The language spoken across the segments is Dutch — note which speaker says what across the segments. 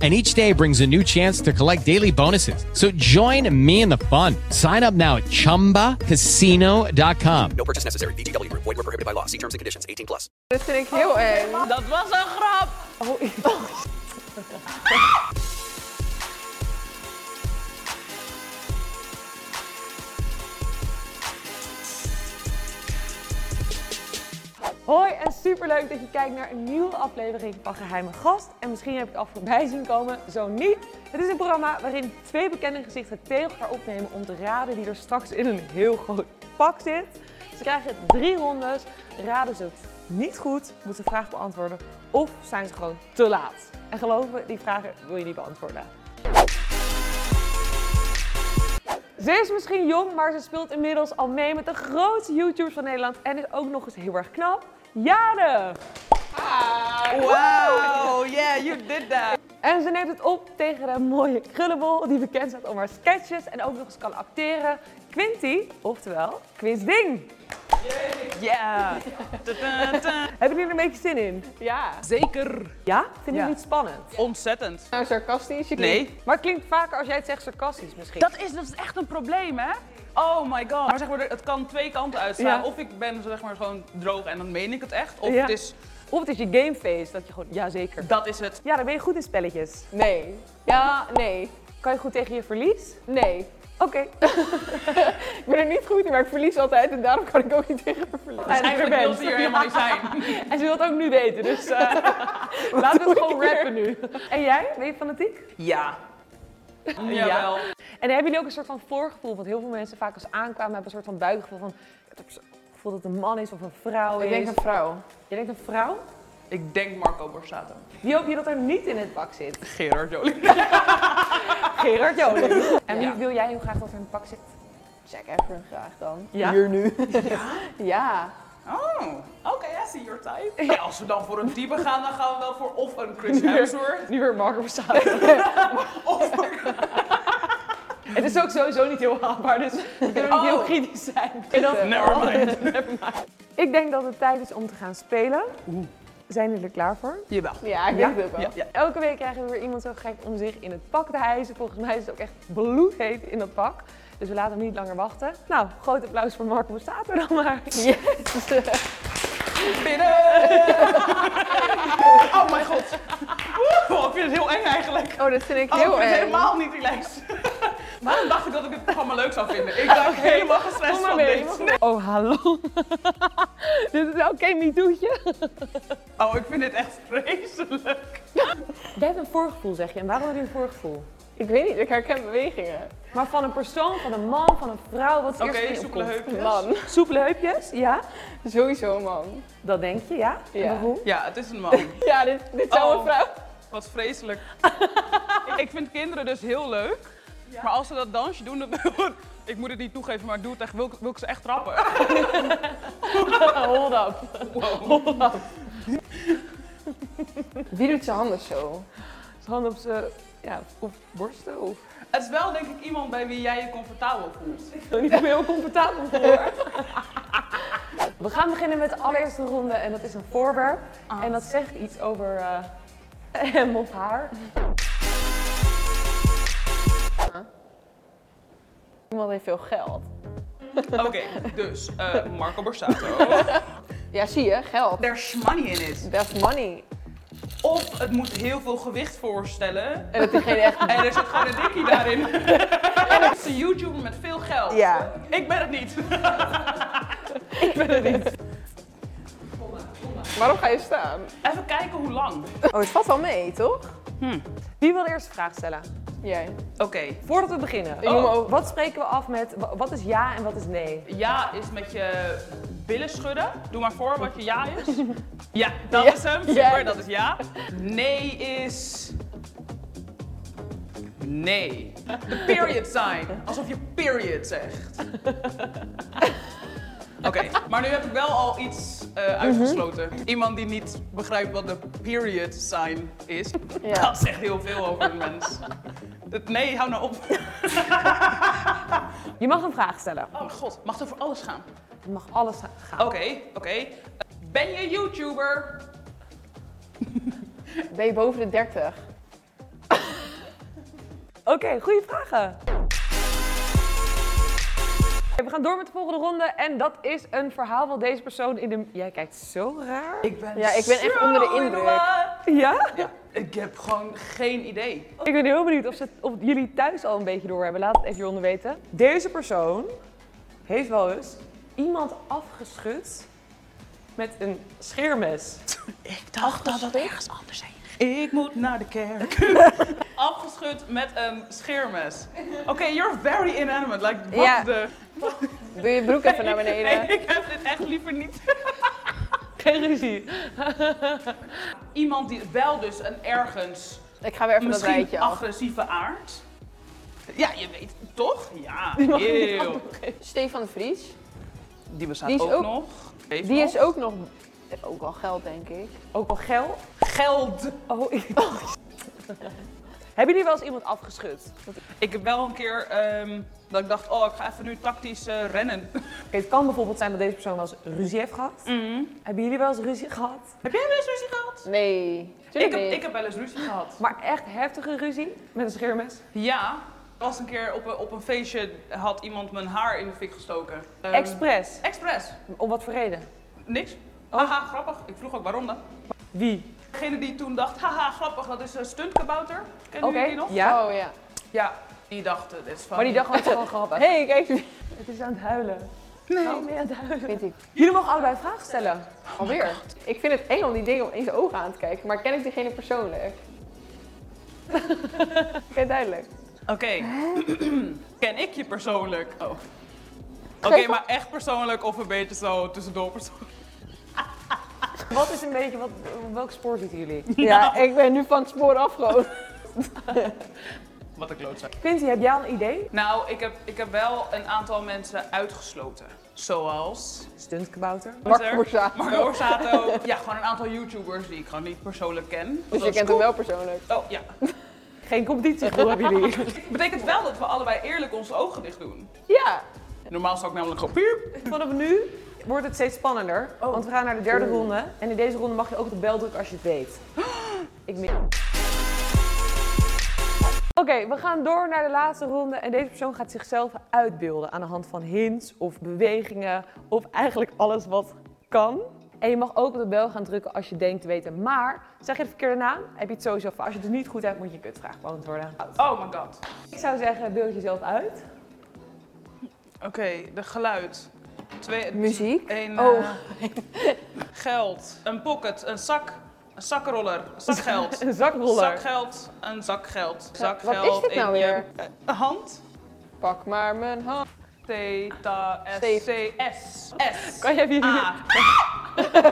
Speaker 1: And each day brings a new chance to collect daily bonuses. So join me in the fun. Sign up now at chumbacasino.com.
Speaker 2: No purchase necessary. VGW Group. Void were prohibited by law. See terms and conditions. 18 plus.
Speaker 3: Dit vind ik heel eng.
Speaker 4: Oh, Dat was een grap.
Speaker 3: Hoi en superleuk dat je kijkt naar een nieuwe aflevering van Geheime Gast. En misschien heb je het al voorbij zien komen, zo niet. Het is een programma waarin twee bekende gezichten tegen elkaar opnemen om te raden wie er straks in een heel groot pak zit. Ze krijgen drie rondes. Raden ze het niet goed, moeten ze vraag beantwoorden of zijn ze gewoon te laat. En geloof me, die vragen wil je niet beantwoorden. Ze is misschien jong, maar ze speelt inmiddels al mee met de grootste YouTubers van Nederland en is ook nog eens heel erg knap. Jade!
Speaker 4: Wow, yeah, you did that.
Speaker 3: En ze neemt het op tegen de mooie krullenbol die bekend staat om haar sketches en ook nog eens kan acteren. Quinty, oftewel Quiz Ding.
Speaker 4: Yeah.
Speaker 3: Hebben jullie er een beetje zin in?
Speaker 4: Ja. Zeker.
Speaker 3: Ja? Vinden jullie het spannend?
Speaker 4: Ontzettend.
Speaker 5: Nou, sarcastisch. Je
Speaker 4: Nee.
Speaker 3: Maar het klinkt vaker als jij het zegt sarcastisch misschien.
Speaker 4: Dat is, dat is echt een probleem, hè? Oh my god. Maar zeg maar, het kan twee kanten uitslaan.
Speaker 3: Ja.
Speaker 4: Of ik ben dus, zeg maar gewoon droog en dan meen ik het echt. Of
Speaker 3: Ja.
Speaker 4: het is,
Speaker 3: Of het is je gameface dat je gewoon, ja zeker.
Speaker 4: dat is het.
Speaker 3: Ja, dan ben je goed in spelletjes.
Speaker 5: klinkt- Nee. Ja, nee.
Speaker 3: Kan je goed tegen je verlies?
Speaker 5: Nee.
Speaker 3: Oké.
Speaker 5: Ik ben er niet goed in, maar ik verlies altijd en daarom kan ik ook niet tegen haar verliezen.
Speaker 3: En
Speaker 4: Eigenlijk wil ze hier helemaal niet zijn.
Speaker 3: En ze wil het ook nu weten, dus eh, laten we het gewoon rappen nu. En jij? Ben je fanatiek?
Speaker 4: Ja. Jawel.
Speaker 3: En hebben jullie ook een soort van voorgevoel? Want heel veel mensen vaak als ze aankwamen hebben een soort van buikgevoel van... Ik heb zo'n gevoel dat het een man is of een vrouw
Speaker 5: Ik
Speaker 3: is.
Speaker 5: denk een vrouw.
Speaker 3: Je denkt een vrouw?
Speaker 4: Ik denk Marco Borsato.
Speaker 3: Wie hoop je dat er niet in het pak zit?
Speaker 4: Gerard Jolie.
Speaker 3: Gerard Joling. En wie
Speaker 4: Ja.
Speaker 3: wil jij heel graag dat er in het pak zit?
Speaker 5: Jack Efron graag dan.
Speaker 3: Ja?
Speaker 5: Hier nu. ja.
Speaker 4: Oh, oké, I see your type. Ja, als we dan voor een type gaan, dan gaan we wel voor of een Chris Hemsworth.
Speaker 3: Nu weer Marco Borsato. Het is ook sowieso niet heel haalbaar, dus we kunnen niet
Speaker 5: Oh.
Speaker 3: heel kritisch zijn. En dan-
Speaker 4: Never mind.
Speaker 3: Ik denk dat het tijd is om te gaan spelen. Zijn jullie er klaar voor?
Speaker 4: Jawel.
Speaker 5: Ja, ik denk het ook wel.
Speaker 4: Ja, ja.
Speaker 3: Elke week krijgen we weer iemand zo gek om zich in het pak te hijsen. Volgens mij is het ook echt bloedheet in dat pak. Dus we laten hem niet langer wachten. Nou, groot applaus voor Marco Borsato dan maar.
Speaker 4: Binnen! oh mijn god. Oeh, ik vind het heel eng eigenlijk.
Speaker 5: Oh, dat vind ik
Speaker 4: Oh, ik
Speaker 5: heel
Speaker 4: vind het
Speaker 5: erg.
Speaker 4: helemaal niet relaxed. Waarom dacht ik dat ik dit programma leuk zou vinden? Ik dacht helemaal gestrest
Speaker 3: Kom maar
Speaker 4: van
Speaker 3: mee.
Speaker 4: dit.
Speaker 3: Oh, hallo. Dit is wel oké, niet doetje.
Speaker 4: Oh, ik vind dit echt vreselijk.
Speaker 3: Jij hebt een voorgevoel, zeg je. En waarom heb je een voorgevoel?
Speaker 5: Ik weet niet, ik herken bewegingen.
Speaker 3: Maar van een persoon, van een man, van een vrouw, wat is het
Speaker 4: Oké,
Speaker 3: eerste wat in je
Speaker 4: soepele
Speaker 3: opkomt?
Speaker 4: heupjes.
Speaker 5: Man.
Speaker 3: Soepele heupjes, ja.
Speaker 5: Sowieso man.
Speaker 3: Dat denk je, ja. En
Speaker 5: Ja.
Speaker 3: waarom?
Speaker 4: Ja, het is een man.
Speaker 5: Ja, dit, dit zou
Speaker 4: Oh.
Speaker 5: een vrouw...
Speaker 4: Wat vreselijk. Ik- ik vind kinderen dus heel leuk. Maar als ze dat dansje doen, dan, ik moet het niet toegeven, maar ik doe het echt, wil, ik- wil ik ze echt trappen.
Speaker 3: Hold up.
Speaker 5: Wie doet zijn handen zo?
Speaker 3: Hand op zijn, ja, op borsten of...
Speaker 4: Het is wel denk ik iemand bij wie jij je comfortabel voelt.
Speaker 3: Ik wil niet meer heel comfortabel voor. We gaan beginnen met de allereerste ronde en dat is een voorwerp.
Speaker 4: Ah.
Speaker 3: En dat zegt iets over eh, hem of haar.
Speaker 5: Iemand heeft veel geld.
Speaker 4: Oké, dus eh, Marco Borsato.
Speaker 5: Ja, zie je, geld.
Speaker 4: There's money in it.
Speaker 5: That's money.
Speaker 4: Of het moet heel veel gewicht voorstellen.
Speaker 5: En dat diegene echt...
Speaker 4: En er zit gewoon een dikkie daarin. En het is een YouTuber met veel geld.
Speaker 5: Ja.
Speaker 4: Ik ben het niet.
Speaker 5: Ik ben het niet. Waarom ga je staan?
Speaker 4: Even kijken hoe lang.
Speaker 5: Oh, het valt wel mee, toch?
Speaker 3: Wie wil eerst een vraag stellen?
Speaker 5: Jij. Oh.
Speaker 4: Oké.
Speaker 3: Voordat we beginnen.
Speaker 5: noem ook-
Speaker 3: Wat spreken we af met wa- wat is ja en wat is nee?
Speaker 4: Ja is met je billen schudden. Doe maar voor wat je ja is. Ja, dat
Speaker 5: Ja.
Speaker 4: is hem.
Speaker 5: Ja.
Speaker 4: Super, dat is ja. Nee is... Nee. De period sign. Alsof je period zegt. Oké, maar nu heb ik wel al iets eh, uitgesloten. Iemand die niet begrijpt wat de period sign is. Dat zegt heel veel over een mens. Het- Nee, hou nou op.
Speaker 3: Je mag een vraag stellen.
Speaker 4: Oh god, mag het over alles gaan?
Speaker 3: Het mag alles gaan.
Speaker 4: Oké, oké. Ben je YouTuber?
Speaker 5: Ben je boven de 30?
Speaker 3: Oké, goede vragen. Oké, We gaan door met de volgende ronde en dat is een verhaal wat deze persoon in de... Jij kijkt zo raar.
Speaker 4: Ik ben
Speaker 5: Ja, ik ben echt
Speaker 4: zo
Speaker 5: onder de
Speaker 4: in
Speaker 5: indruk.
Speaker 4: love.
Speaker 3: Ja?
Speaker 4: Ja, ik heb gewoon geen idee.
Speaker 3: Ik ben heel benieuwd of, ze, of jullie thuis al een beetje door hebben. Laat het even hieronder weten. Deze persoon heeft wel eens iemand afgeschud met een scheermes.
Speaker 4: Ik dacht dat dat ergens anders heen Ik moet naar de kerk. Afgeschud met een scheermes. Oké, you're very inanimate. Like, what
Speaker 5: Ja.
Speaker 4: the...
Speaker 5: Doe je broek even naar beneden.
Speaker 4: Nee, ik heb dit echt liever niet.
Speaker 3: Geen ruzie.
Speaker 4: Iemand die wel dus een ergens
Speaker 5: Ik ga weer even dat
Speaker 4: misschien
Speaker 5: rijtje af.
Speaker 4: agressieve aard. Ja, je weet toch? Ja,
Speaker 3: mag niet
Speaker 4: eeuw.
Speaker 5: Stefan de Vries.
Speaker 4: Die bestaat
Speaker 5: Die is
Speaker 4: ook,
Speaker 5: ook-
Speaker 4: nog. Heeft
Speaker 5: Die
Speaker 4: nog.
Speaker 5: is ook nog... Ook wel geld, denk ik.
Speaker 3: Ook al gel.
Speaker 4: geld.
Speaker 3: Oh, ik... Hebben jullie wel eens iemand afgeschud? Dat-
Speaker 4: Ik heb wel een keer ehm, dat ik dacht, oh, ik ga even nu tactisch eh, rennen.
Speaker 3: Oké, het kan bijvoorbeeld zijn dat deze persoon wel eens ruzie heeft gehad. Hebben jullie wel eens ruzie gehad?
Speaker 4: heb jij wel eens ruzie gehad?
Speaker 5: Nee.
Speaker 4: Ik
Speaker 5: tuurlijk
Speaker 4: heb,
Speaker 5: niet.
Speaker 4: ik heb wel eens ruzie gehad.
Speaker 3: Maar echt heftige ruzie met een scheermes?
Speaker 4: Ja, er was een keer op een, op een feestje had iemand mijn haar in de fik gestoken. Ehm,
Speaker 3: Express.
Speaker 4: Expres.
Speaker 3: Om wat voor reden?
Speaker 4: Niks.
Speaker 3: Oh.
Speaker 4: Haha, grappig. Ik vroeg ook waarom dan.
Speaker 3: Wie?
Speaker 4: Degene die toen dacht, haha, grappig, dat is een stuntkabouter. Kennen
Speaker 3: Oké,
Speaker 4: jullie die nog?
Speaker 3: ja.
Speaker 5: Oh ja.
Speaker 4: Ja, Die dacht, eh, dit is van...
Speaker 3: Maar die dacht was gewoon grappig. Hé, hey, kijk. Het is aan het huilen. Oh, Nee. aan het huilen.
Speaker 5: Vind ik.
Speaker 3: Jullie mogen allebei vragen stellen.
Speaker 5: Alweer. ik vind het eng om die dingen in zijn ogen aan te kijken. Maar ken ik diegene persoonlijk? Oké, duidelijk.
Speaker 4: Oké. Ken ik je persoonlijk? Oh. Oké, maar echt persoonlijk of een beetje zo tussendoor persoonlijk?
Speaker 3: Wat is een beetje, wat, welk spoor zitten jullie?
Speaker 5: Ja, ik ben nu van het spoor af gewoon.
Speaker 4: Wat een klootzak.
Speaker 3: Quinty, heb jij al een idee?
Speaker 4: Nou, ik heb, ik heb wel een aantal mensen uitgesloten. Zoals...
Speaker 3: Stuntkabouter.
Speaker 5: Mark Borsato.
Speaker 4: Marco Borsato. ja, gewoon een aantal YouTubers die ik gewoon niet persoonlijk ken.
Speaker 5: Dus je kent hem wel persoonlijk.
Speaker 4: Oh, ja.
Speaker 3: Geen competitie voor hebben jullie.
Speaker 4: Betekent wel dat we allebei eerlijk onze ogen dicht doen.
Speaker 5: Ja.
Speaker 4: Normaal zou ik namelijk gewoon piep.
Speaker 3: Vanaf nu wordt het steeds spannender,
Speaker 4: Oh.
Speaker 3: want we gaan naar de derde ronde. En in deze ronde mag je ook op de bel drukken als je het weet. Ik mis. Oké, we gaan door naar de laatste ronde en deze persoon gaat zichzelf uitbeelden aan de hand van hints of bewegingen of eigenlijk alles wat kan. En je mag ook op de bel gaan drukken als je denkt te weten. Maar zeg je de verkeerde naam, heb je het sowieso fout. Als je het dus niet goed hebt, moet je je kutvraag beantwoorden.
Speaker 4: Oh my god.
Speaker 3: Ik zou zeggen, beeld jezelf uit.
Speaker 4: Oké, de geluid. Twee,
Speaker 5: Muziek.
Speaker 4: Een,
Speaker 5: Oh.
Speaker 4: eh, geld. Een pocket. Een zak. Een zakroller. Zakgeld.
Speaker 3: Een zakroller.
Speaker 4: Zakgeld. Een zakgeld. Zakgeld.
Speaker 5: Wat is dit
Speaker 4: in
Speaker 5: nou
Speaker 4: je-
Speaker 5: weer?
Speaker 4: eh, Een hand.
Speaker 5: Pak maar mijn hand.
Speaker 4: Theta S
Speaker 5: Steef.
Speaker 4: C S S.
Speaker 3: Kan Oh, jij hier-
Speaker 5: Ah.
Speaker 4: A.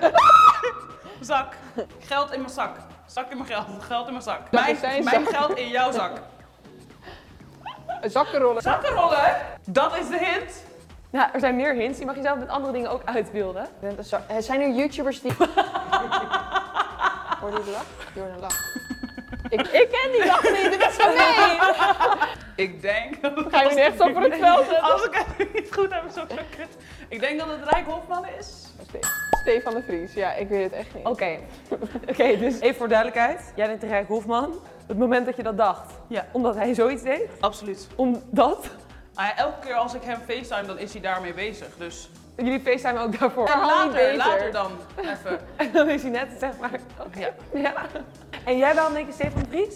Speaker 4: zak. Geld in mijn zak. Zak in mijn geld. Geld in mijn zak. Mijn,
Speaker 5: zijn
Speaker 4: mijn
Speaker 5: zak.
Speaker 4: geld in jouw zak.
Speaker 5: Een zakkenroller.
Speaker 4: Zakkenrollen. Dat is de hint.
Speaker 3: Nou, er zijn meer hints. Je mag jezelf met andere dingen ook uitbeelden.
Speaker 5: Je bent een zak- Eh, Zijn er YouTubers die... Hoor je de lach? Je hoort een lach. Ik, ik ken die lach niet, dit is van mij!
Speaker 4: Ik denk. dat-
Speaker 5: Ga je nu echt zo voor het veld zetten?
Speaker 4: Als ik het niet goed heb, is ook zo kut. Ik denk dat het Rijk Hofman is.
Speaker 5: Ste- Stefan de Vries, ja, ik weet het echt niet.
Speaker 3: Oké, oké, dus even voor duidelijkheid. Jij bent de Rijk Hofman. Het moment dat je dat dacht,
Speaker 4: Ja.
Speaker 3: omdat hij zoiets deed,
Speaker 4: Absoluut.
Speaker 3: omdat
Speaker 4: Ah ja, elke keer als ik hem FaceTime, dan is hij daarmee bezig. Dus
Speaker 3: jullie facetimen ook daarvoor.
Speaker 5: Ja. Haal niet
Speaker 4: later,
Speaker 5: beter.
Speaker 4: later dan. Even.
Speaker 3: En dan is hij net, zeg maar. oké,
Speaker 4: Ja.
Speaker 3: Ja. En jij wel, denk ik, Stefan Vries?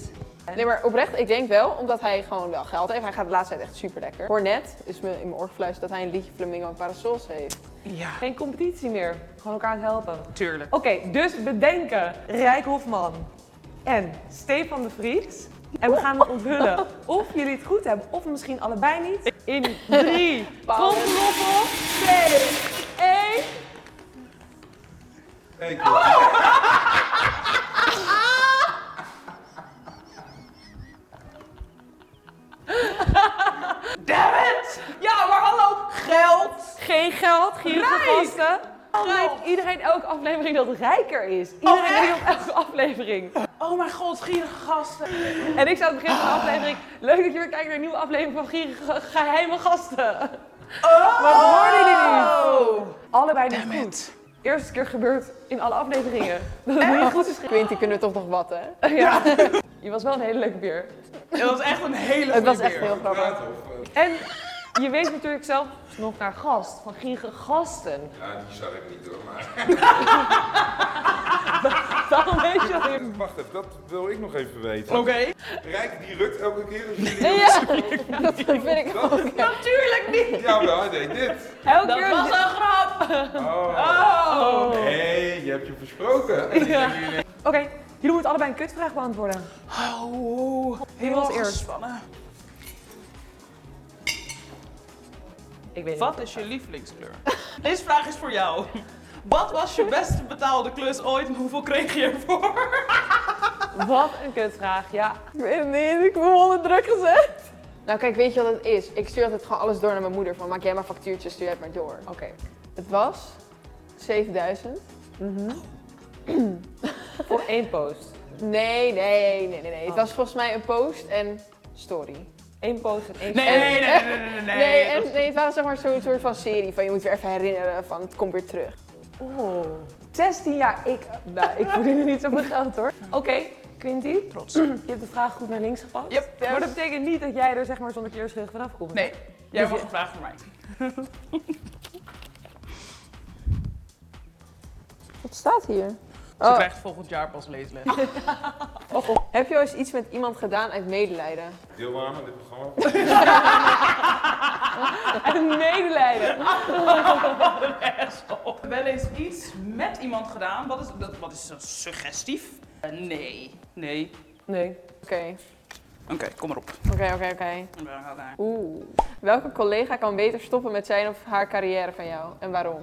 Speaker 5: Nee, maar oprecht, ik denk wel, omdat hij gewoon wel geld heeft. Hij gaat de laatste tijd echt super lekker. Hoor net, is me in mijn oor gefluisterd dat hij een liedje Flamingo en Parasols heeft.
Speaker 4: Ja,
Speaker 3: Geen competitie meer. Gewoon elkaar aan het helpen.
Speaker 4: tuurlijk.
Speaker 3: Oké, dus bedenken. Rijk Hofman en Stefan de Vries. En we gaan het onthullen of jullie het goed hebben of misschien allebei niet. In drie, tromperoffel, twee, één.
Speaker 4: Damn it! Ja, maar hallo, geld!
Speaker 3: Geen geld, geen gasten. Grijpt iedereen elke aflevering dat rijker is. Iedereen
Speaker 4: Oh, echt?
Speaker 3: die op elke aflevering.
Speaker 4: Oh mijn god, gierige gasten.
Speaker 3: En ik zou aan het begin van de aflevering. Leuk dat je weer kijkt naar een nieuwe aflevering van Gierige Geheime Gasten.
Speaker 4: Oh!
Speaker 3: Maar hoorden jullie niet?
Speaker 4: Oh.
Speaker 3: Allebei niet
Speaker 4: Damn
Speaker 3: goed.
Speaker 4: it.
Speaker 3: Eerste keer gebeurd in alle afleveringen. Dat het niet goed is gegaan.
Speaker 5: Quinty kunnen we toch nog wat, hè?
Speaker 3: Ja. Je was wel een hele leuke beer.
Speaker 4: Het was echt een hele
Speaker 5: Het was
Speaker 4: goeie
Speaker 5: echt
Speaker 4: beer.
Speaker 5: heel grappig.
Speaker 3: En je weet natuurlijk zelf nog naar gast. Van Gierige Gasten.
Speaker 6: Ja, die zag ik niet hoor, maar...
Speaker 3: Daarom weet je al.
Speaker 6: Wacht even, dat wil ik nog even weten.
Speaker 4: Oké.
Speaker 6: Rijk die rukt elke keer als jullie...
Speaker 5: Ja, dat vind ik ook.
Speaker 4: Natuurlijk niet.
Speaker 6: Jawel, hij deed dit.
Speaker 3: Elke
Speaker 4: Dat
Speaker 3: keer.
Speaker 4: was een grap.
Speaker 6: Hé, hey, je hebt je versproken.
Speaker 3: Oké, jullie moeten allebei een kutvraag beantwoorden.
Speaker 4: Oh,
Speaker 3: Helemaal
Speaker 4: heel
Speaker 3: eerst.
Speaker 4: gespannen.
Speaker 3: Ik weet
Speaker 4: Wat is je lievelingskleur? Deze vraag is voor jou. Wat was je best betaalde klus ooit en hoeveel kreeg je ervoor?
Speaker 3: niet. Wat een kutvraag, ja.
Speaker 5: Ik weet het niet, ik voel onder druk gezet. Nou kijk, weet je wat het is? Ik stuur altijd gewoon alles door naar mijn moeder. Van maak jij maar factuurtjes, stuur jij het maar door.
Speaker 3: Oké.
Speaker 5: Het was 7000.
Speaker 3: Voor één post.
Speaker 5: Nee, nee, nee, nee, nee. Het was volgens mij een post en story.
Speaker 3: Eén post en één
Speaker 4: Nee, nee, nee, nee, nee, nee.
Speaker 5: Nee, en, nee het waren zeg maar zo'n soort van serie van je moet weer even herinneren van het komt weer terug.
Speaker 3: Oh. 16 jaar, ik. Nou, ik verdien niet zoveel geld hoor. Oké, Quinty. Trots. Je hebt de vraag goed naar links gepakt.
Speaker 4: Yep, yes.
Speaker 3: Maar dat betekent niet dat jij er zeg maar zonder keerschuld vanaf komt.
Speaker 4: Nee, jij mag een vraag voor mij.
Speaker 5: Wat staat hier?
Speaker 4: Ze
Speaker 5: Oh.
Speaker 4: krijgt volgend jaar pas leesles.
Speaker 5: Heb je al eens iets met iemand gedaan uit medelijden?
Speaker 6: Heel warm aan dit programma.
Speaker 3: En medelijden.
Speaker 4: Of Oh, wel eens iets met iemand gedaan? Wat is dat? Wat is dat? Suggestief? Eh, nee. Nee.
Speaker 3: Nee.
Speaker 5: Oké,
Speaker 4: Oké, kom maar op.
Speaker 5: oké, oké, oké. Oeh. Welke collega kan beter stoppen met zijn of haar carrière van jou en waarom?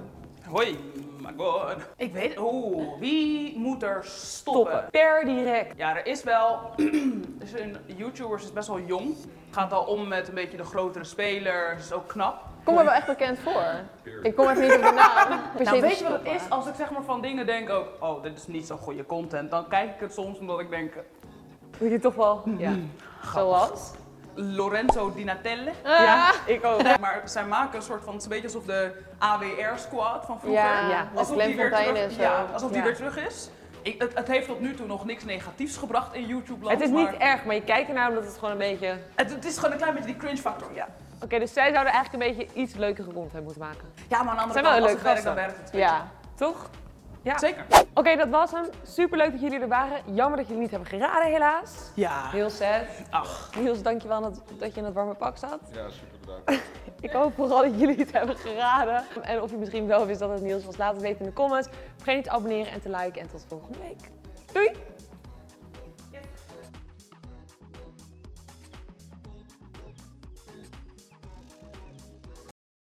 Speaker 4: Hoi, my god. Ik weet Oeh, wie moet er stoppen?
Speaker 3: Toppen. Per direct.
Speaker 4: Ja, er is wel... dus een YouTubers is best wel jong. Gaat al om met een beetje de grotere spelers. Is ook knap.
Speaker 5: Ik kom er wel echt bekend voor. Ik kom even niet op de naam. Per se
Speaker 4: Nou,
Speaker 5: te
Speaker 4: weet je wat het
Speaker 5: stoppen.
Speaker 4: is? Als ik zeg maar van dingen denk ook... Oh, dit is niet zo'n goede content. Dan kijk ik het soms omdat ik denk...
Speaker 3: Moet je toch wel. Ja. Zoals?
Speaker 4: Lorenzo Dinatelle.
Speaker 5: Ah.
Speaker 3: Ja, ik ook.
Speaker 4: Maar zij maken een soort van, het is een beetje alsof de AWR-squad van vroeger.
Speaker 5: Ja, Ja. met
Speaker 4: alsof die weer
Speaker 5: Glenn Fontaine
Speaker 4: terug,
Speaker 5: en zo.
Speaker 4: ja, alsof die
Speaker 5: Ja.
Speaker 4: weer terug is. Ik, het, het heeft tot nu toe nog niks negatiefs gebracht in YouTube-land.
Speaker 3: Het is
Speaker 4: maar
Speaker 3: niet erg, maar je kijkt ernaar omdat het gewoon een beetje. Oké,
Speaker 4: Het, het is gewoon een klein beetje die cringe-factor, ja.
Speaker 3: dus zij zouden eigenlijk een beetje iets leukere content moeten maken.
Speaker 4: Ja, maar aan de andere
Speaker 3: Zijn
Speaker 4: kant,
Speaker 3: wel
Speaker 4: als
Speaker 3: leuke
Speaker 4: het werkt, dan
Speaker 3: gasten.
Speaker 4: werkt het.
Speaker 5: Ja.
Speaker 3: Toch? Ja.
Speaker 4: Zeker.
Speaker 3: Oké, dat was hem. Superleuk dat jullie er waren. Jammer dat jullie niet hebben geraden, helaas.
Speaker 4: Ja.
Speaker 3: Heel sad.
Speaker 4: Ach,
Speaker 3: Niels, dankjewel dat, dat je in het warme pak zat.
Speaker 6: Ja, super bedankt.
Speaker 3: Ik hoop vooral dat jullie het hebben geraden. En of je misschien wel wist dat het Niels was, laat het weten in de comments. Vergeet niet te abonneren en te liken en tot volgende week. Doei!